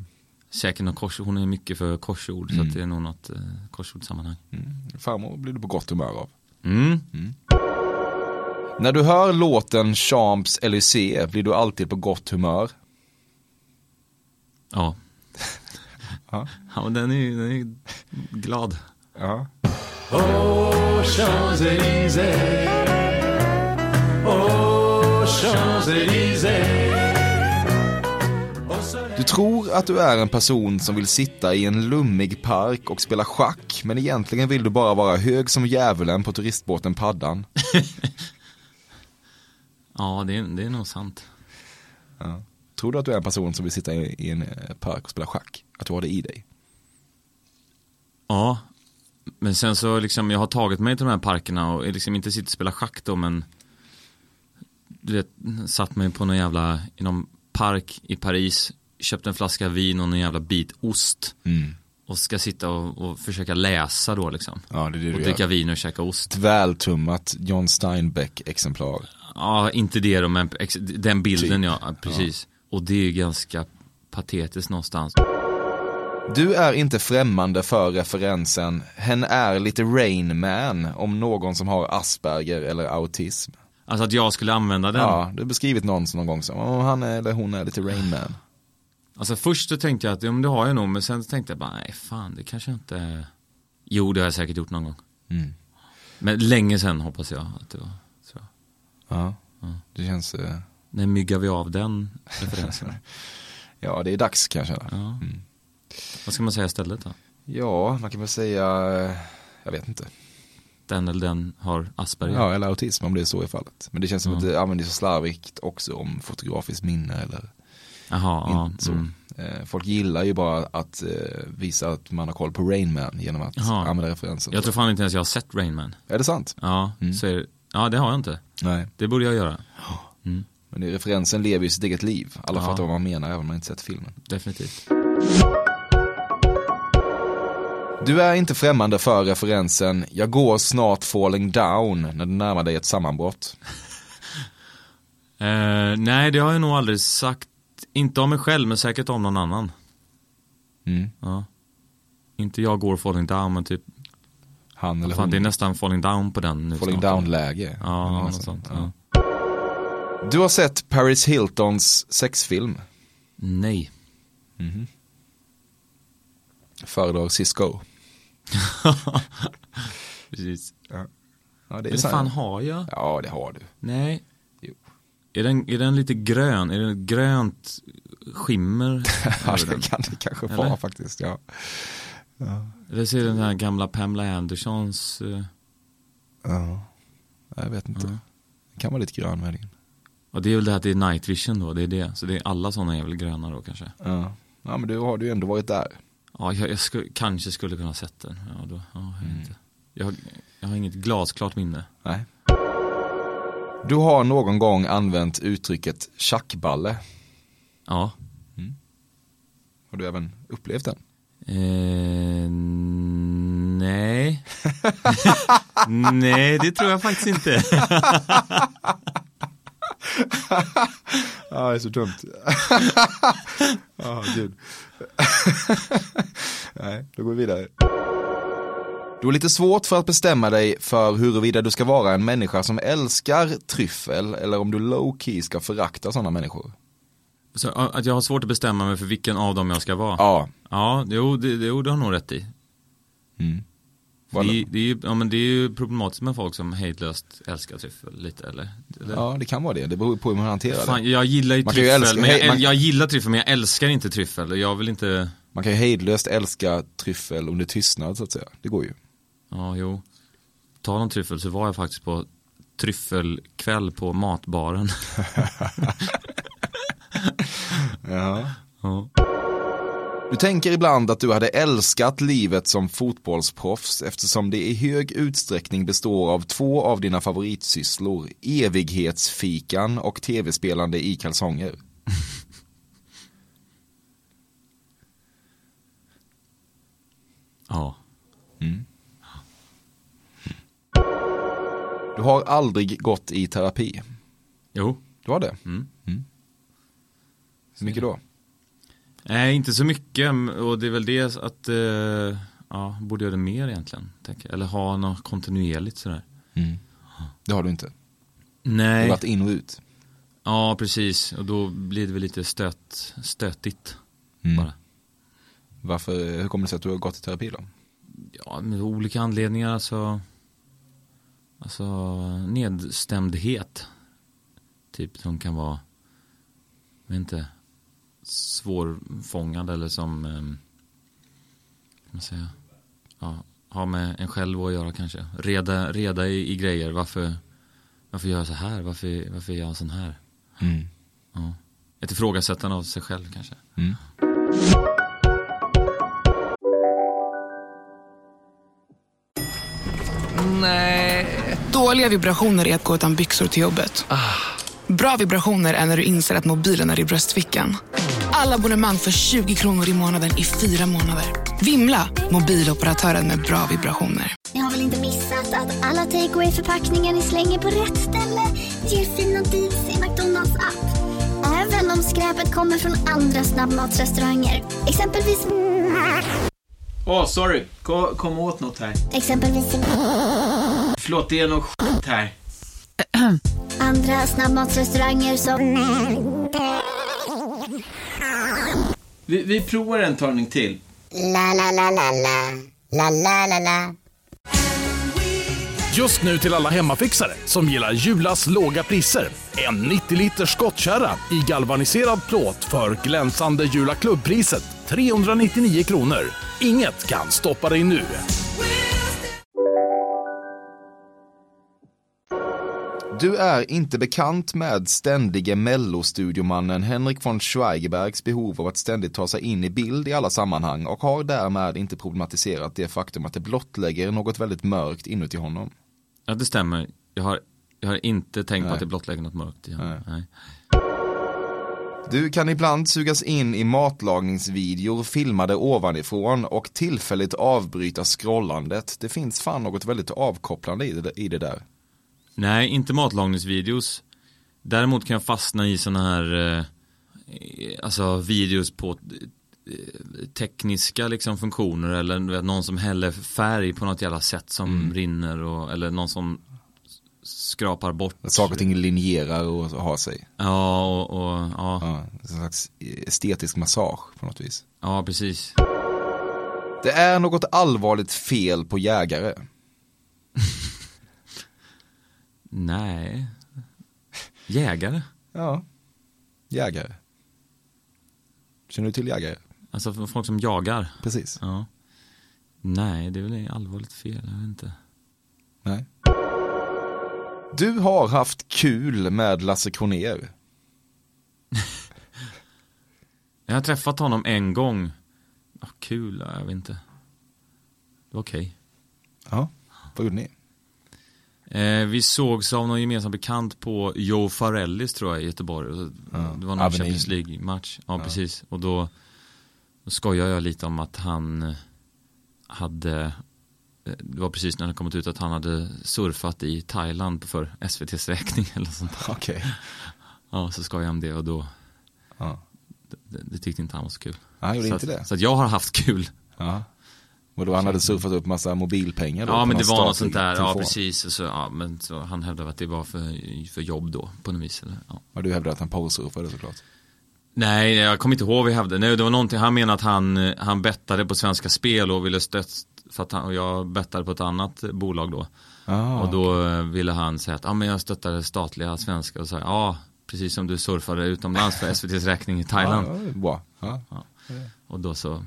S7: Säkert något korsord, hon är mycket för korsord så
S6: Mm.
S7: att det är nog något eh, korsordssammanhang.
S6: Farmor blir du på gott humör av.
S7: Mm.
S6: När du hör låten Champs Élysées blir du alltid på gott humör.
S7: Ja.
S6: Ja.
S7: ja, men den är ju den är ju glad.
S6: Ja.
S12: Aux Champs-Élysées, aux Champs-Élysées.
S6: Du tror att du är en person som vill sitta i en lummig park och spela schack, men egentligen vill du bara vara hög som djävulen på turistbåten Paddan.
S7: Ja, det är, det är nog sant.
S6: Ja. Tror du att du är en person som vill sitta i i en eh, park och spela schack? Att du har det i dig?
S7: Ja, men sen så liksom, jag har tagit mig till de här parkerna och liksom inte sitter och spelar schack då, men du vet, satt mig på någon jävla, i någon park i Paris, köpte en flaska vin och någon jävla bit ost
S6: Mm.
S7: och ska sitta och, och försöka läsa då liksom.
S6: Ja, det är det
S7: och
S6: du
S7: dricka
S6: gör.
S7: vin och käka ost.
S6: Ett vältummat John Steinbeck-exemplar.
S7: Ja, inte det då, men ex- den bilden
S6: Typ.
S7: ja, ja, precis. Och det är ju ganska patetiskt någonstans.
S6: Du är inte främmande för referensen Hen är lite Rain Man om någon som har Asperger eller autism.
S7: Alltså att jag skulle använda den.
S6: Ja, du har beskrivit någon som någon gång som "Åh, han är, eller hon är lite Rain Man.
S7: Alltså först så tänkte jag att, ja men det har jag nog, men sen tänkte jag bara, nej fan det kanske jag inte Jo det har jag säkert gjort någon gång.
S6: Mm.
S7: Men länge sen hoppas jag att det var så.
S6: Ja, det känns... eh,
S7: När myggar vi av den referensen?
S6: Ja, det är dags kanske.
S7: ja. Vad ska man säga istället då?
S6: Ja, man kan väl säga... eh, Jag vet inte.
S7: Den eller den har Asperger?
S6: Ja, eller autism om det är så i fallet. Men det känns som
S7: Ja.
S6: att det används så slarvigt också om fotografiskt minne eller
S7: Jaha,
S6: inte
S7: ja.
S6: så.
S7: Mm.
S6: Eh, Folk gillar ju bara att eh, visa att man har koll på Rain Man genom att
S7: Jaha.
S6: använda referensen.
S7: Jag tror fan inte ens jag har sett Rain Man.
S6: Är det sant?
S7: Ja,
S6: Mm.
S7: så är det. ja det har jag inte.
S6: Nej.
S7: Det borde jag göra. Mm.
S6: Men det- referensen lever ju sitt eget liv. Alla
S7: Ja.
S6: fattar vad man menar även om man inte sett filmen.
S7: Definitivt.
S6: Du är inte främmande för referensen “Jag går snart falling down” när du närmar dig ett sammanbrott.
S7: Eh, nej, det har jag nog aldrig sagt. Inte om mig själv, men säkert om någon annan.
S6: Mm.
S7: Ja. Inte jag går falling down, men typ.
S6: Han eller
S7: Fan,
S6: hon.
S7: Det är nästan falling down på den nu.
S6: Falling
S7: snart.
S6: down-läge. Eller
S7: Ja,
S6: något
S7: något
S6: sånt,
S7: sånt.
S6: ja.
S7: Ja.
S6: Du har sett Paris Hiltons sexfilm?
S7: Nej.
S6: Mhm. Föredrar Cisco.
S7: Precis.
S6: Ja. Ja, det är
S7: Eller
S6: så här-
S7: fan har jag?
S6: Ja, det har du.
S7: Nej. Är den, är den lite grön? Är den ett grönt skimmer?
S6: Ja,
S7: över den?
S6: det kan det kanske
S7: Eller?
S6: vara faktiskt. Ja. Ja.
S7: Eller så är det den här gamla Pamela Andersons... eh,
S6: ja, jag vet inte. Det kan vara lite grön möjligen.
S7: Och det är väl det här att det är night vision då, det är det. Så det är alla sådana är väl gröna då kanske.
S6: Ja. ja, men du har du ju ändå varit där.
S7: Ja, jag, jag sku, kanske skulle kunna ha sett den. Ja, då, ja, jag, vet
S6: Mm.
S7: inte. Jag, har- jag har inget glasklart minne.
S6: Nej. Du har någon gång använt uttrycket tjackballe.
S7: Ja.
S6: Mm. Har du även upplevt den?
S7: Eh, nej. nej, det tror jag faktiskt inte.
S6: Ja, det är så dumt. Ja, gud. Nej, då går vi vidare. Du har lite svårt för att bestämma dig för huruvida du ska vara en människa som älskar tryffel eller om du low key ska förakta sådana människor.
S7: Så, ja, att jag har svårt att bestämma mig för vilken av dem jag ska vara.
S6: Ja.
S7: Ja, jo, det, det, jo, det har du nog rätt i.
S6: Mm.
S7: För Det, är- det, är ju, ja, men det är ju problematiskt med folk som hejdlöst älskar tryffel lite, eller? eller?
S6: Ja, det kan vara det. Det beror på hur man hanterar det.
S7: Fan, jag gillar ju
S6: Man kan
S7: tryffel,
S6: älska-
S7: men jag,
S6: hej- man-
S7: jag gillar tryffel men jag älskar inte tryffel. Jag vill inte,
S6: Man kan ju hejdlöst älska tryffel under tystnad så att säga. Det går ju.
S7: ja jo. Ta någon tryffel så var jag faktiskt på tryffelkväll på matbaren.
S6: Ja.
S7: ja.
S6: Du tänker ibland att du hade älskat livet som fotbollsproffs eftersom det i hög utsträckning består av två av dina favoritsysslor, evighetsfikan och tv-spelande i kalsonger.
S7: Ja.
S6: Mm. Du har aldrig gått i terapi.
S7: Jo.
S6: Du har det?
S7: Mm.
S6: Hur mycket då?
S7: Nej, inte så mycket m- och det är väl det att, eh, ja, borde göra det mer egentligen. Tänker. jag. Eller ha något kontinuerligt sådär.
S6: Mm. Det har du inte. Du
S7: Nej.
S6: har varit in och ut.
S7: Ja, precis. Och då blir det väl lite stöt, stötigt.
S6: Mm.
S7: Bara.
S6: Varför, hur kommer det sig att du har gått i terapi då?
S7: Ja, med olika anledningar. Alltså, alltså nedstämdhet. Typ som kan vara, jag vet inte, svårfångad eller som, eh, kan man säga, ja, ha med en själv att göra kanske. Reda, reda i, i grejer. Varför, varför gör jag så här? Varför, varför är jag sån här?
S6: Mm.
S7: Ja. Ett ifrågasättande av sig själv kanske.
S14: Nej. Dåliga vibrationer är att gå utan byxor till jobbet.
S12: Ah.
S14: Bra vibrationer är när du inser att mobilen är i bröstfickan. Alla abonnemang för 20 kronor i månaden i fyra månader. Vimla! Mobiloperatören med bra vibrationer.
S15: Ni har väl inte missat att alla takeaway förpackningar ni slänger på rätt ställe ger fina deals i McDonalds app. Även om skräpet kommer från andra snabbmatsrestauranger. Exempelvis...
S16: Åh, sorry. Kom, kom åt något här.
S15: Exempelvis...
S16: Förlåt, det är något skit här.
S15: Andra snabbmatsrestauranger som...
S16: Vi, vi provar en talning till.
S15: La, la, la, la, la. La, la, la, la.
S17: Just nu till alla hemmafixare som gillar Julas låga priser. En 90-liters skottkärra i galvaniserad plåt för glänsande Jula klubbpriset 399 kronor. Inget kan stoppa dig nu.
S6: Du är inte bekant med ständige mellostudiomannen Henrik von Schweigebergs behov av att ständigt ta sig in i bild i alla sammanhang och har därmed inte problematiserat det faktum att det blottlägger något väldigt mörkt inuti honom.
S7: Ja, det stämmer. Jag har, jag har inte tänkt på
S6: Nej.
S7: att det blottlägger något mörkt. i honom. Nej.
S6: Du kan ibland sugas in i matlagningsvideor filmade ovanifrån och tillfälligt avbryta scrollandet. Det finns fan något väldigt avkopplande i det, i det där.
S7: Nej, inte matlagningsvideos. Däremot kan jag fastna i sådana här eh, alltså videos på eh, tekniska liksom funktioner eller du vet, någon som häller färg på något jävla sätt som rinner och, eller någon som skrapar bort.
S6: Saker och ting linjerar och har sig.
S7: Ja, och, och ja.
S6: en slags eh, estetisk massage på något vis.
S7: Ja, precis.
S6: Det är något allvarligt fel på jägare.
S7: Nej. Jägare?
S6: Ja. Jägare. Känner du till jägare?
S7: Alltså för folk som jagar?
S6: Precis.
S7: Ja. Nej, det är väl allvarligt fel, jag vet inte.
S6: Nej. Du har haft kul med Lasse Kronér.
S7: Jag har träffat honom en gång. Ja, kul, ja, jag vet inte. Det var okej.
S6: Ja, vad gjorde ni?
S7: Eh, vi sågs av någon gemensam bekant på Joe Farellis tror jag i Göteborg. Och Det var någon
S6: Avenyn.
S7: Champions League-match. Ja,
S6: Ja.
S7: precis. Och då, då skojade jag lite om att han eh, hade, eh, det var precis när det kommit ut att han hade surfat i Thailand för SVTs räkning eller sånt där.
S6: Okej.
S7: Ja, så skojade jag om det och då,
S6: Ja.
S7: det, det tyckte inte han var så kul.
S6: Nej, han gjorde
S7: så
S6: inte
S7: att,
S6: det.
S7: Så att jag har haft kul.
S6: Ja. Och då han hade surfat upp massa mobilpengar då?
S7: Ja
S6: på
S7: men det
S6: någon
S7: var något sånt
S6: statlig
S7: där, ja
S6: telefon.
S7: precis. Och Så, ja, men så, han hävdade att det var för, för jobb då, på något vis. Eller, ja.
S6: Och du hävdade att han porrsurfade såklart.
S7: Nej, jag kommer inte ihåg vad vi hävdade. Nej, det var någonting, han menade att han, eh, han bettade på Svenska Spel och ville stött, för att han, och jag bettade på ett annat eh, bolag då.
S6: Ah,
S7: och då eh, ville han säga att, ja men jag stöttar det statliga svenska och så här, ja, precis som du surfade utomlands för SVTs räkning i Thailand.
S6: Ja, det är bra. Ja.
S7: Och då så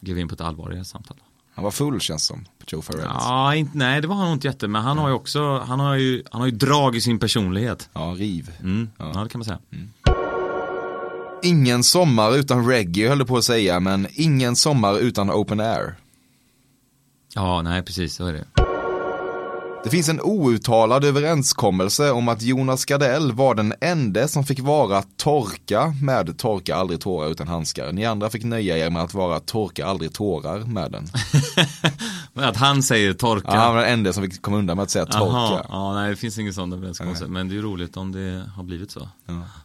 S7: gled vi in på ett allvarligare samtal.
S6: Han var full känns som, på Joe Farrell.
S7: Ja, inte, nej det var han nog inte jätte, men han har ju också, han har ju, han har ju drag i sin personlighet.
S6: Ja, riv.
S7: Mm. Ja. det kan man säga.
S6: Ingen sommar utan reggae höll jag på att säga, men ingen sommar utan open air.
S7: Ja, nej precis, så är det.
S6: Det finns en outtalad överenskommelse om att Jonas Gardell var den ende som fick vara torka med torka aldrig tårar utan handskar. Ni andra fick nöja er med att vara torka aldrig tårar med den.
S7: Men att han säger torka.
S6: Ja, han var den enda som fick komma undan med att säga torka.
S7: Jaha, ja, nej det finns ingen sån överenskommelse. Men det är ju roligt om det har blivit så.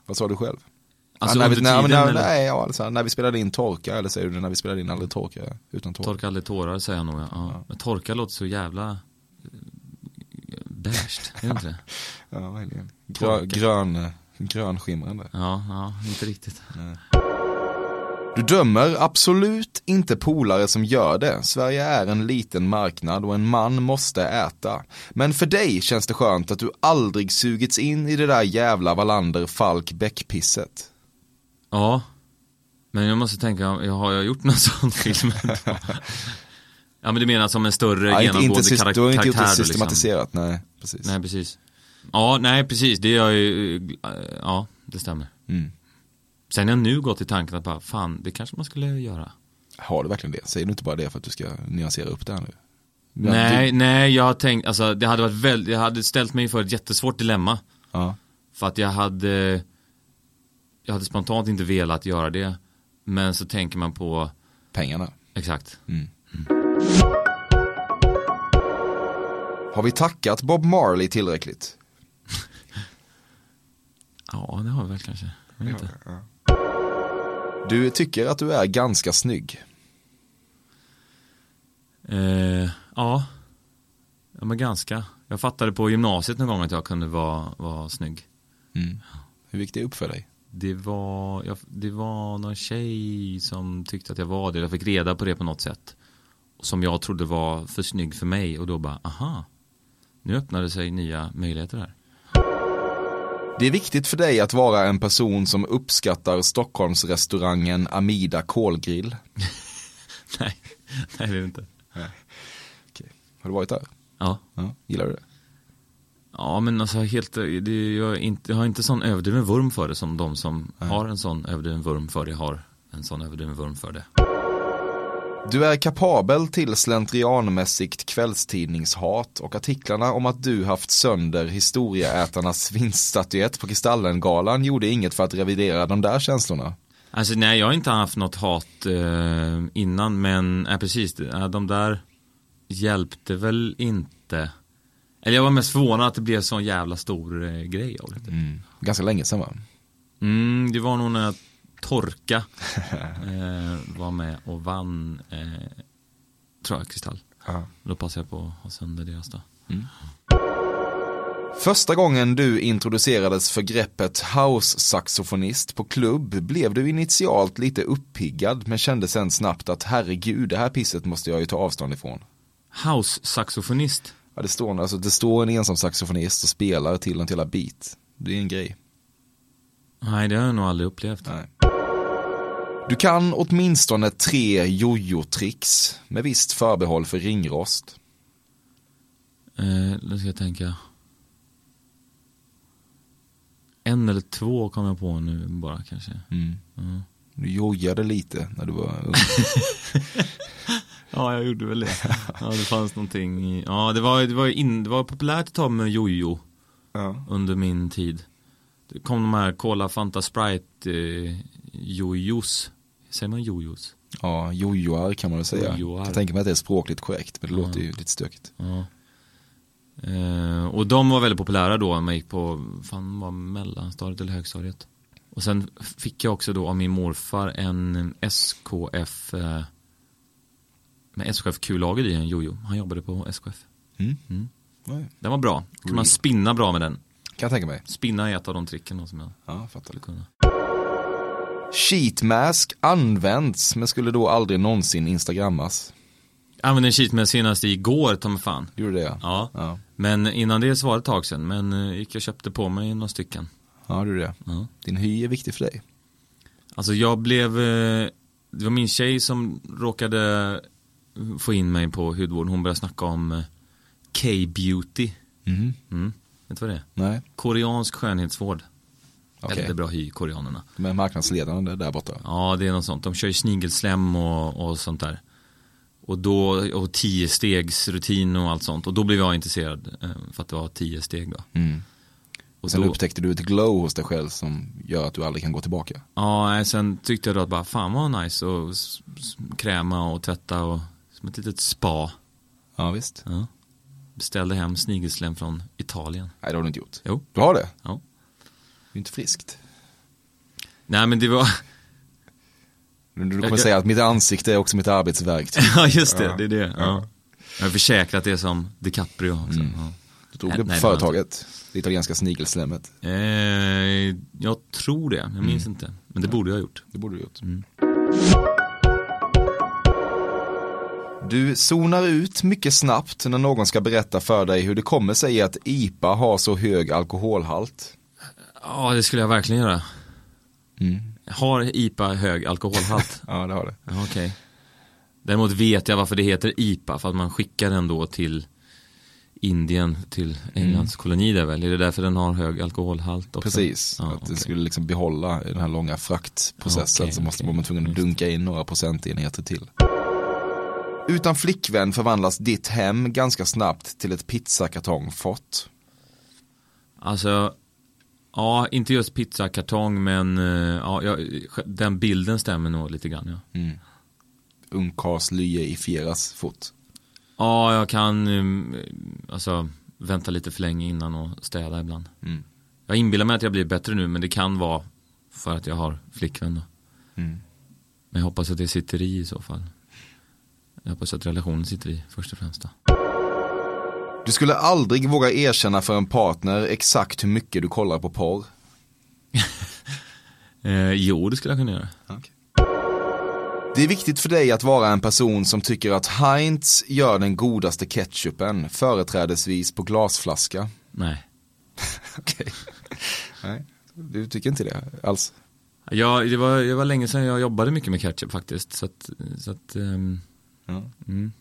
S6: Vad sa du själv?
S7: Alltså,
S6: Ja, när, vi,
S7: under
S6: när,
S7: tiden,
S6: när,
S7: eller?
S6: nej, ja, alltså, när vi spelade in torka, eller säger du när vi spelade in aldrig torka utan tårar?
S7: Torka aldrig tårar säger jag nog. Ja. Men torka låter så jävla eh, beige, är det inte det?
S6: Ja, verkligen.
S7: Torka.
S6: Grön, grön, grön skimrande.
S7: Ja, ja, inte riktigt.
S6: Du dömer absolut inte polare som gör det. Sverige är en liten marknad och en man måste äta. Men för dig känns det skönt att du aldrig sugits in i det där jävla Wallander Falk Bäckpisset.
S7: Ja, men jag måste tänka, ja, har jag gjort någon sån film? ja men du menar som en större
S6: Ja, inte, inte,
S7: genomgående
S6: syst-
S7: karak-
S6: du har inte gjort
S7: karaktär
S6: det
S7: då,
S6: systematiserat, nej. Precis.
S7: Liksom. Nej precis. Ja, nej precis, det gör ju, eh, ja det stämmer.
S6: Mm.
S7: Sen har jag nu gått i tanken att bara, fan det kanske man skulle göra.
S6: Har du verkligen det? Säger du inte bara det för att du ska nyansera upp det här nu? Ja,
S7: nej,
S6: du-
S7: nej jag har tänkt, alltså det hade varit väldigt, jag hade ställt mig inför ett jättesvårt dilemma.
S6: Ja.
S7: För att jag hade, jag hade spontant inte velat göra det. Men så tänker man på
S6: Pengarna. Mm.
S7: Exakt.
S6: Har vi tackat Bob Marley tillräckligt?
S7: Ja, det har vi väl kanske. Jag vet inte.
S6: Du tycker att du är ganska snygg.
S7: Eh, ja. ja, men ganska. Jag fattade på gymnasiet någon gång att jag kunde vara, vara snygg.
S6: Mm. Hur gick det upp för dig?
S7: Det var, jag, det var någon tjej som tyckte att jag var det. Jag fick reda på det på något sätt. Som jag trodde var för snygg för mig. Och då bara, aha. Nu öppnade sig nya möjligheter här.
S6: Det är viktigt för dig att vara en person som uppskattar Stockholmsrestaurangen Amida kolgrill.
S7: nej, nej det är det inte.
S6: Har du varit där?
S7: Ja.
S6: Gillar du det?
S7: Ja men alltså helt, det, jag, är inte, jag har inte sån överdriven vurm för det som de som har en sån överdriven vurm för det har en sån överdriven vurm för det.
S6: Du är kapabel till slentrianmässigt kvällstidningshat och artiklarna om att du haft sönder historieätarnas vinststatyett på Kristallengalan gjorde inget för att revidera de där känslorna.
S7: Alltså nej, jag har inte haft något hat eh, innan, men eh, precis, det- eh, de där hjälpte väl inte. Eller jag var mest förvånad att det blev sån jävla stor eh, grej av det.
S6: Mm. Ganska länge sedan va?
S7: Mm, det var nog när Torka eh, var med och vann, eh, tror jag, Kristall. Då passade jag på att ha sönder deras då.
S6: Första gången du introducerades för greppet house-saxofonist på klubb blev du initialt lite uppiggad men kände sen snabbt att herregud, det här pisset måste jag ju ta avstånd ifrån.
S7: House-saxofonist?
S6: Ja, det står, alltså, det står en ensam saxofonist och spelar till en till hela beat. Det är en grej.
S7: Nej, det har jag nog aldrig upplevt.
S6: Du kan åtminstone tre jojo-tricks med visst förbehåll för ringrost.
S7: Eh, nu ska jag tänka. En eller två kom jag på nu bara kanske.
S6: Mm.
S7: Mm.
S6: Du jojade lite när du var ung.
S7: Ja, jag gjorde väl det. Ja, det fanns någonting i... Ja, det var, det var, ju in, det var populärt att ta med jojo under min tid. Det kom de här Cola Fanta Sprite eh, jojos. Säger man jojos?
S6: ja, jojoar kan man väl säga.
S7: Jojoar.
S6: Jag tänker mig att det är språkligt korrekt, men det
S7: Ja.
S6: låter ju lite stökigt.
S7: Ja. Eh, och de var väldigt populära då när man gick på, fan var mellanstadiet eller högstadiet. Och sen fick jag också då av min morfar en SKF eh, med SKF Q-lager i en jojo. Han jobbade på SKF.
S6: Mm.
S7: Mm. Den var bra. Kunde man spinna bra med den. Kan
S6: jag tänka mig.
S7: Spinna är ett av de tricken då som jag
S6: ja, fattar.
S7: kunna.
S6: Sheetmask används, men skulle då aldrig någonsin instagrammas.
S7: Jag använde en sheet med senast igår, ta mig fan.
S6: Gjorde det ja.
S7: ja. Men innan det så var det ett tag sedan. Men eh, gick jag och köpte på mig några stycken.
S6: Ja, du det. Din hy är viktig för dig.
S7: Alltså jag blev, eh, det var min tjej som råkade få in mig på hudvård. Hon började snacka om eh, K-beauty.
S6: Mhm.
S7: Mm. Vet du vad det är?
S6: Nej.
S7: Koreansk skönhetsvård.
S6: Okej.
S7: Väldigt bra hy, koreanerna.
S6: De är marknadsledande där borta.
S7: Ja, det är något sånt. De kör ju snigelslem och, och sånt där. Och då, och tio stegs rutin och allt sånt. Och då blev jag intresserad eh, för att det var tio steg då.
S6: Mm.
S7: Och
S6: Och sen
S7: då-
S6: upptäckte du ett glow hos dig själv som gör att du aldrig kan gå tillbaka.
S7: Ja, nej, sen tyckte jag då att bara fan vad nice och s- s- kräma och tvätta och som ett litet spa.
S6: Ja, visst.
S7: Beställde hem snigelslem från Italien.
S6: Nej, det har du inte gjort.
S7: Jo.
S6: Du har det?
S7: Ja.
S6: Det är inte friskt.
S7: Nej, men det var...
S6: Du kommer
S7: Jag- jag-
S6: säga att mitt ansikte är också mitt arbetsverktyg.
S7: ja, just det, det är det. Ja. Mm. Jag försäkrat det som DiCaprio också. Ja.
S6: Du tog
S7: Nej,
S6: det på
S7: nej, var inte.
S6: företaget, det italienska snigelslemmet.
S7: Eh, jag tror det, jag minns
S6: Mm.
S7: inte. Men det borde jag ha gjort.
S6: Det borde du ha gjort.
S7: Mm.
S6: Du zonar ut mycket snabbt när någon ska berätta för dig hur det kommer sig att IPA har så hög alkoholhalt.
S7: Ja, det skulle jag verkligen göra. Mm. Har IPA hög alkoholhalt?
S6: ja, det har det.
S7: Okej. Däremot vet jag varför det heter IPA, för att man skickar den då till Indien, till
S6: Mm.
S7: Englands koloni där väl? Är det därför den har hög alkoholhalt också?
S6: Precis, att det skulle liksom behålla den här långa fraktprocessen
S7: Okej,
S6: så måste man vara tvungen att dunka in några procentenheter till. Utan flickvän förvandlas ditt hem ganska snabbt till ett pizzakartongfort.
S7: Alltså, ja, inte just pizzakartong, men eh, ja, jag, den bilden stämmer nog lite grann. Ja.
S6: Mm. Ungkarlslye i Fieras fot.
S7: Ja, jag kan um, alltså, vänta lite för länge innan och städa ibland.
S6: Mm.
S7: Jag inbillar mig att jag blir bättre nu, men det kan vara för att jag har flickvän. Då.
S6: Mm.
S7: Men jag hoppas att det sitter i i så fall. Jag hoppas att relationen sitter i först och främst. Då.
S6: Du skulle aldrig våga erkänna för en partner exakt hur mycket du kollar på porr.
S7: Eh, jo, det skulle jag kunna göra.
S6: Det är viktigt för dig att vara en person som tycker att Heinz gör den godaste ketchupen, företrädesvis på glasflaska.
S7: Nej.
S6: Okej. Nej, du tycker inte det alls?
S7: Ja, det var, det var länge sedan jag jobbade mycket med ketchup faktiskt. Så att, så att, ehm, mm.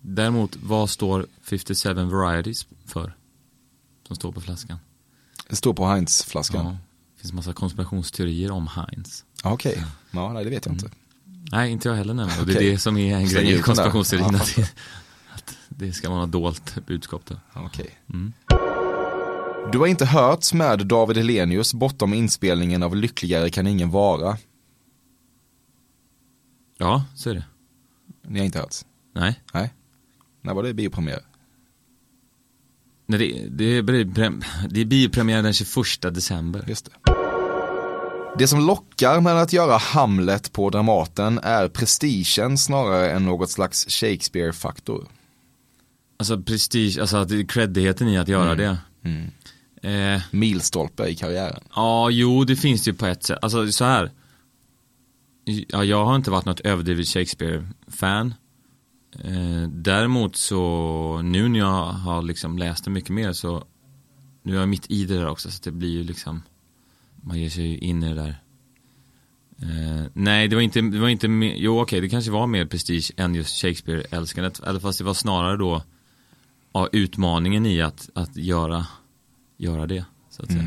S7: Däremot, vad står 57 varieties för? Som står på flaskan.
S6: Det står på Heinz-flaskan. Ah,
S7: Ja, det finns massa konspirationsteorier om Heinz.
S6: Ja. Okej, ja, nej det vet jag inte.
S7: Nej, inte jag heller nämligen. Och det
S6: Okej.
S7: är det som är en
S6: Släng
S7: grej i
S6: ut den där.
S7: konspirationsteorin.
S6: Ja.
S7: Att det- att det ska vara något dolt budskap där.
S6: Ah, Okej. Du har inte hörts med David Helenius bortom inspelningen av Lyckligare kan ingen vara.
S7: Ja, så är det.
S6: Ni har inte hörts?
S7: Nej.
S6: Nej. När var det biopremiär?
S7: Nej, det, det, är, bioprem- det är biopremiär den 21 december.
S6: Just det. Det som lockar med att göra Hamlet på Dramaten är prestigen snarare än något slags Shakespeare-faktor.
S7: Alltså prestige, alltså att det är creddigheten i att göra
S6: Mm.
S7: det.
S6: Mm.
S7: Eh,
S6: Milstolpe i karriären.
S7: Ja, jo, det finns det ju på ett sätt. Alltså så här. Ja, jag har inte varit något överdrivet Shakespeare-fan. Eh, däremot så, nu när jag har liksom läst det mycket mer så, nu är jag mitt i det där också, så att det blir ju liksom, man ger sig ju in i det där. Eh, nej, det var inte, det var inte mer, jo okej, det kanske var mer prestige än just Shakespeare-älskandet, eller fast det var snarare då, ja, utmaningen i att, att göra, göra det, så att säga.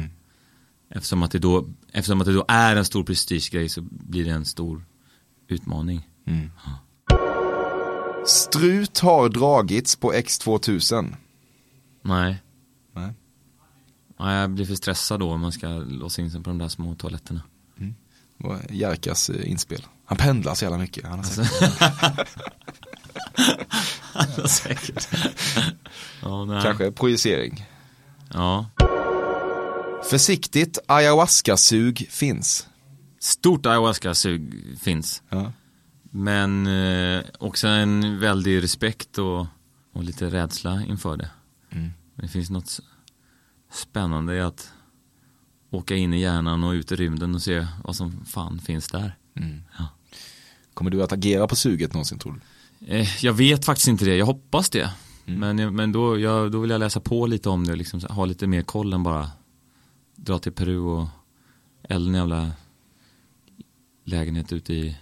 S7: Eftersom att, det då, eftersom att det då är en stor prestigegrej så blir det en stor utmaning.
S6: Strut har dragits på X2000.
S7: Nej.
S6: Nej.
S7: Nej, jag blir för stressad då om man ska låsa in sig på de där små toaletterna.
S6: Det var Jerkas eh, inspel. Han pendlar så jävla mycket. Han har
S7: Han har säkert. Ja, nej.
S6: Kanske projicering.
S7: Ja.
S6: Försiktigt, ayahuasca-sug finns.
S7: Stort ayahuasca-sug finns. Men eh, också en väldig respekt och, och lite rädsla inför det.
S6: Mm.
S7: Det finns något s- spännande i att åka in i hjärnan och ut i rymden och se vad som fan finns där.
S6: Mm.
S7: Ja.
S6: Kommer du att agera på suget någonsin tror du?
S7: Eh, Jag vet faktiskt inte det, jag hoppas det.
S6: Mm.
S7: Men, men då, jag, då vill jag läsa på lite om det och liksom, ha lite mer koll än bara dra till Peru och elda en jävla lägenhet ute i, jag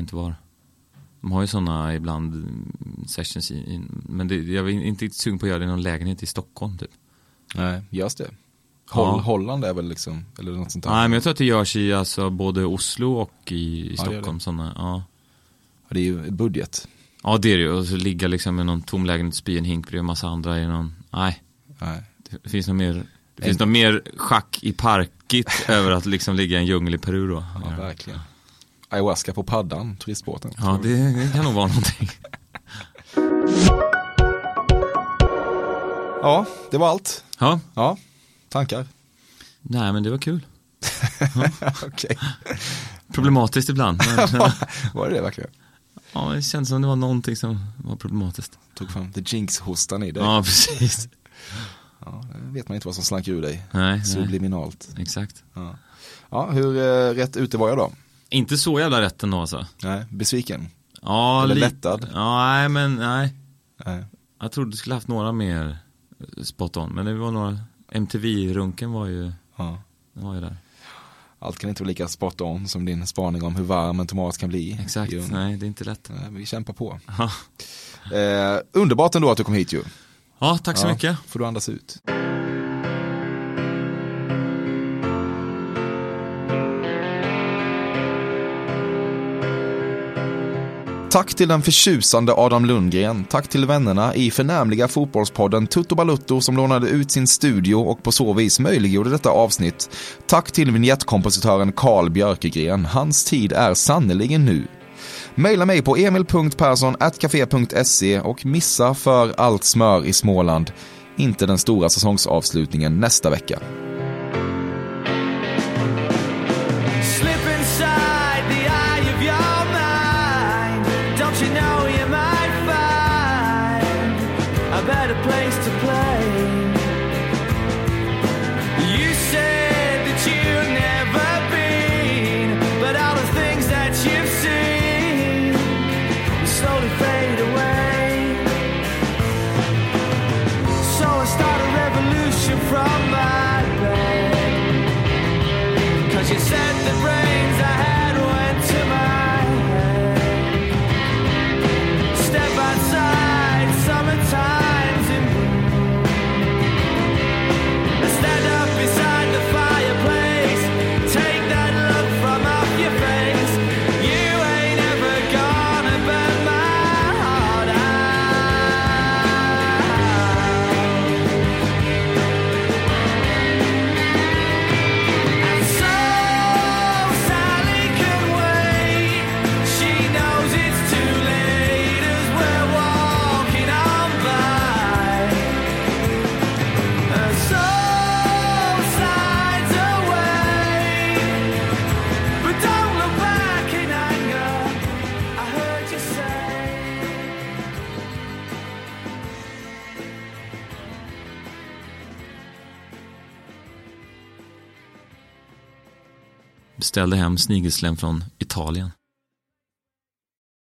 S7: vet inte var. De har ju sådana ibland mm, sessions i, i men det, jag är inte riktigt sugen på att göra det i någon lägenhet i Stockholm typ.
S6: Nej, görs det? Hol-
S7: Ja.
S6: Holland är väl liksom, eller något sånt där.
S7: Nej men jag tror att det görs i alltså, både Oslo och i, i
S6: Ja, det gör
S7: Stockholm.
S6: det.
S7: Såna, ja.
S6: Det är ju budget.
S7: Ja det är det ju. Och så ligga liksom i någon tom lägenhet, spy i en hink bredvid en massa andra i någon, nej. Det finns något mer, det finns något mer schack i parkigt över att liksom ligga i en djungel i Peru då.
S6: Ja, verkligen. Ayahuasca på paddan, turistbåten.
S7: Ja det, det kan nog vara någonting.
S6: Ja, det var allt.
S7: Ja.
S6: Ja, tankar.
S7: Nej men det var kul.
S6: Okej.
S7: Problematiskt ibland. Men,
S6: var det det verkligen?
S7: ja det känns som det var någonting som var problematiskt.
S6: Tog fram the jinx-hostan i dig.
S7: Ja precis.
S6: Ja, det vet man inte vad som slank ur dig.
S7: Nej, nej.
S6: Subliminalt.
S7: Exakt.
S6: Ja, ja hur eh, rätt ute var jag då?
S7: Inte så jävla rätt ändå alltså.
S6: Nej, besviken.
S7: Ja,
S6: Eller
S7: li-
S6: lättad.
S7: Ja, nej men nej. Jag trodde du skulle haft några mer eh, spot on, men det var några, MTV-runken var ju,
S6: Ja.
S7: den var ju där.
S6: Allt kan inte vara lika spot on som din spaning om hur varm en tomat kan bli.
S7: Exakt,
S6: Jo.
S7: nej det är inte lätt.
S6: Nej, men vi kämpar på. Eh, underbart ändå att du kom hit ju.
S7: Ja, tack så mycket.
S6: Får du andas ut. Tack till den förtjusande Adam Lundgren. Tack till vännerna i förnämliga fotbollspodden Tutto Balutto som lånade ut sin studio och på så vis möjliggjorde detta avsnitt. Tack till vignettkompositören Carl Björkegren. Hans tid är sannerligen nu. Maila mig på emil.perssonatcafe.se och missa för allt smör i Småland inte den stora säsongsavslutningen nästa vecka.
S12: Slip inside the eye of your mind. Don't you know you might find a better place to play? You said that you've never been, but all the things that you've seen will slowly fade away. So I start a revolution from my bed.
S7: beställde hem snigelslem från Italien.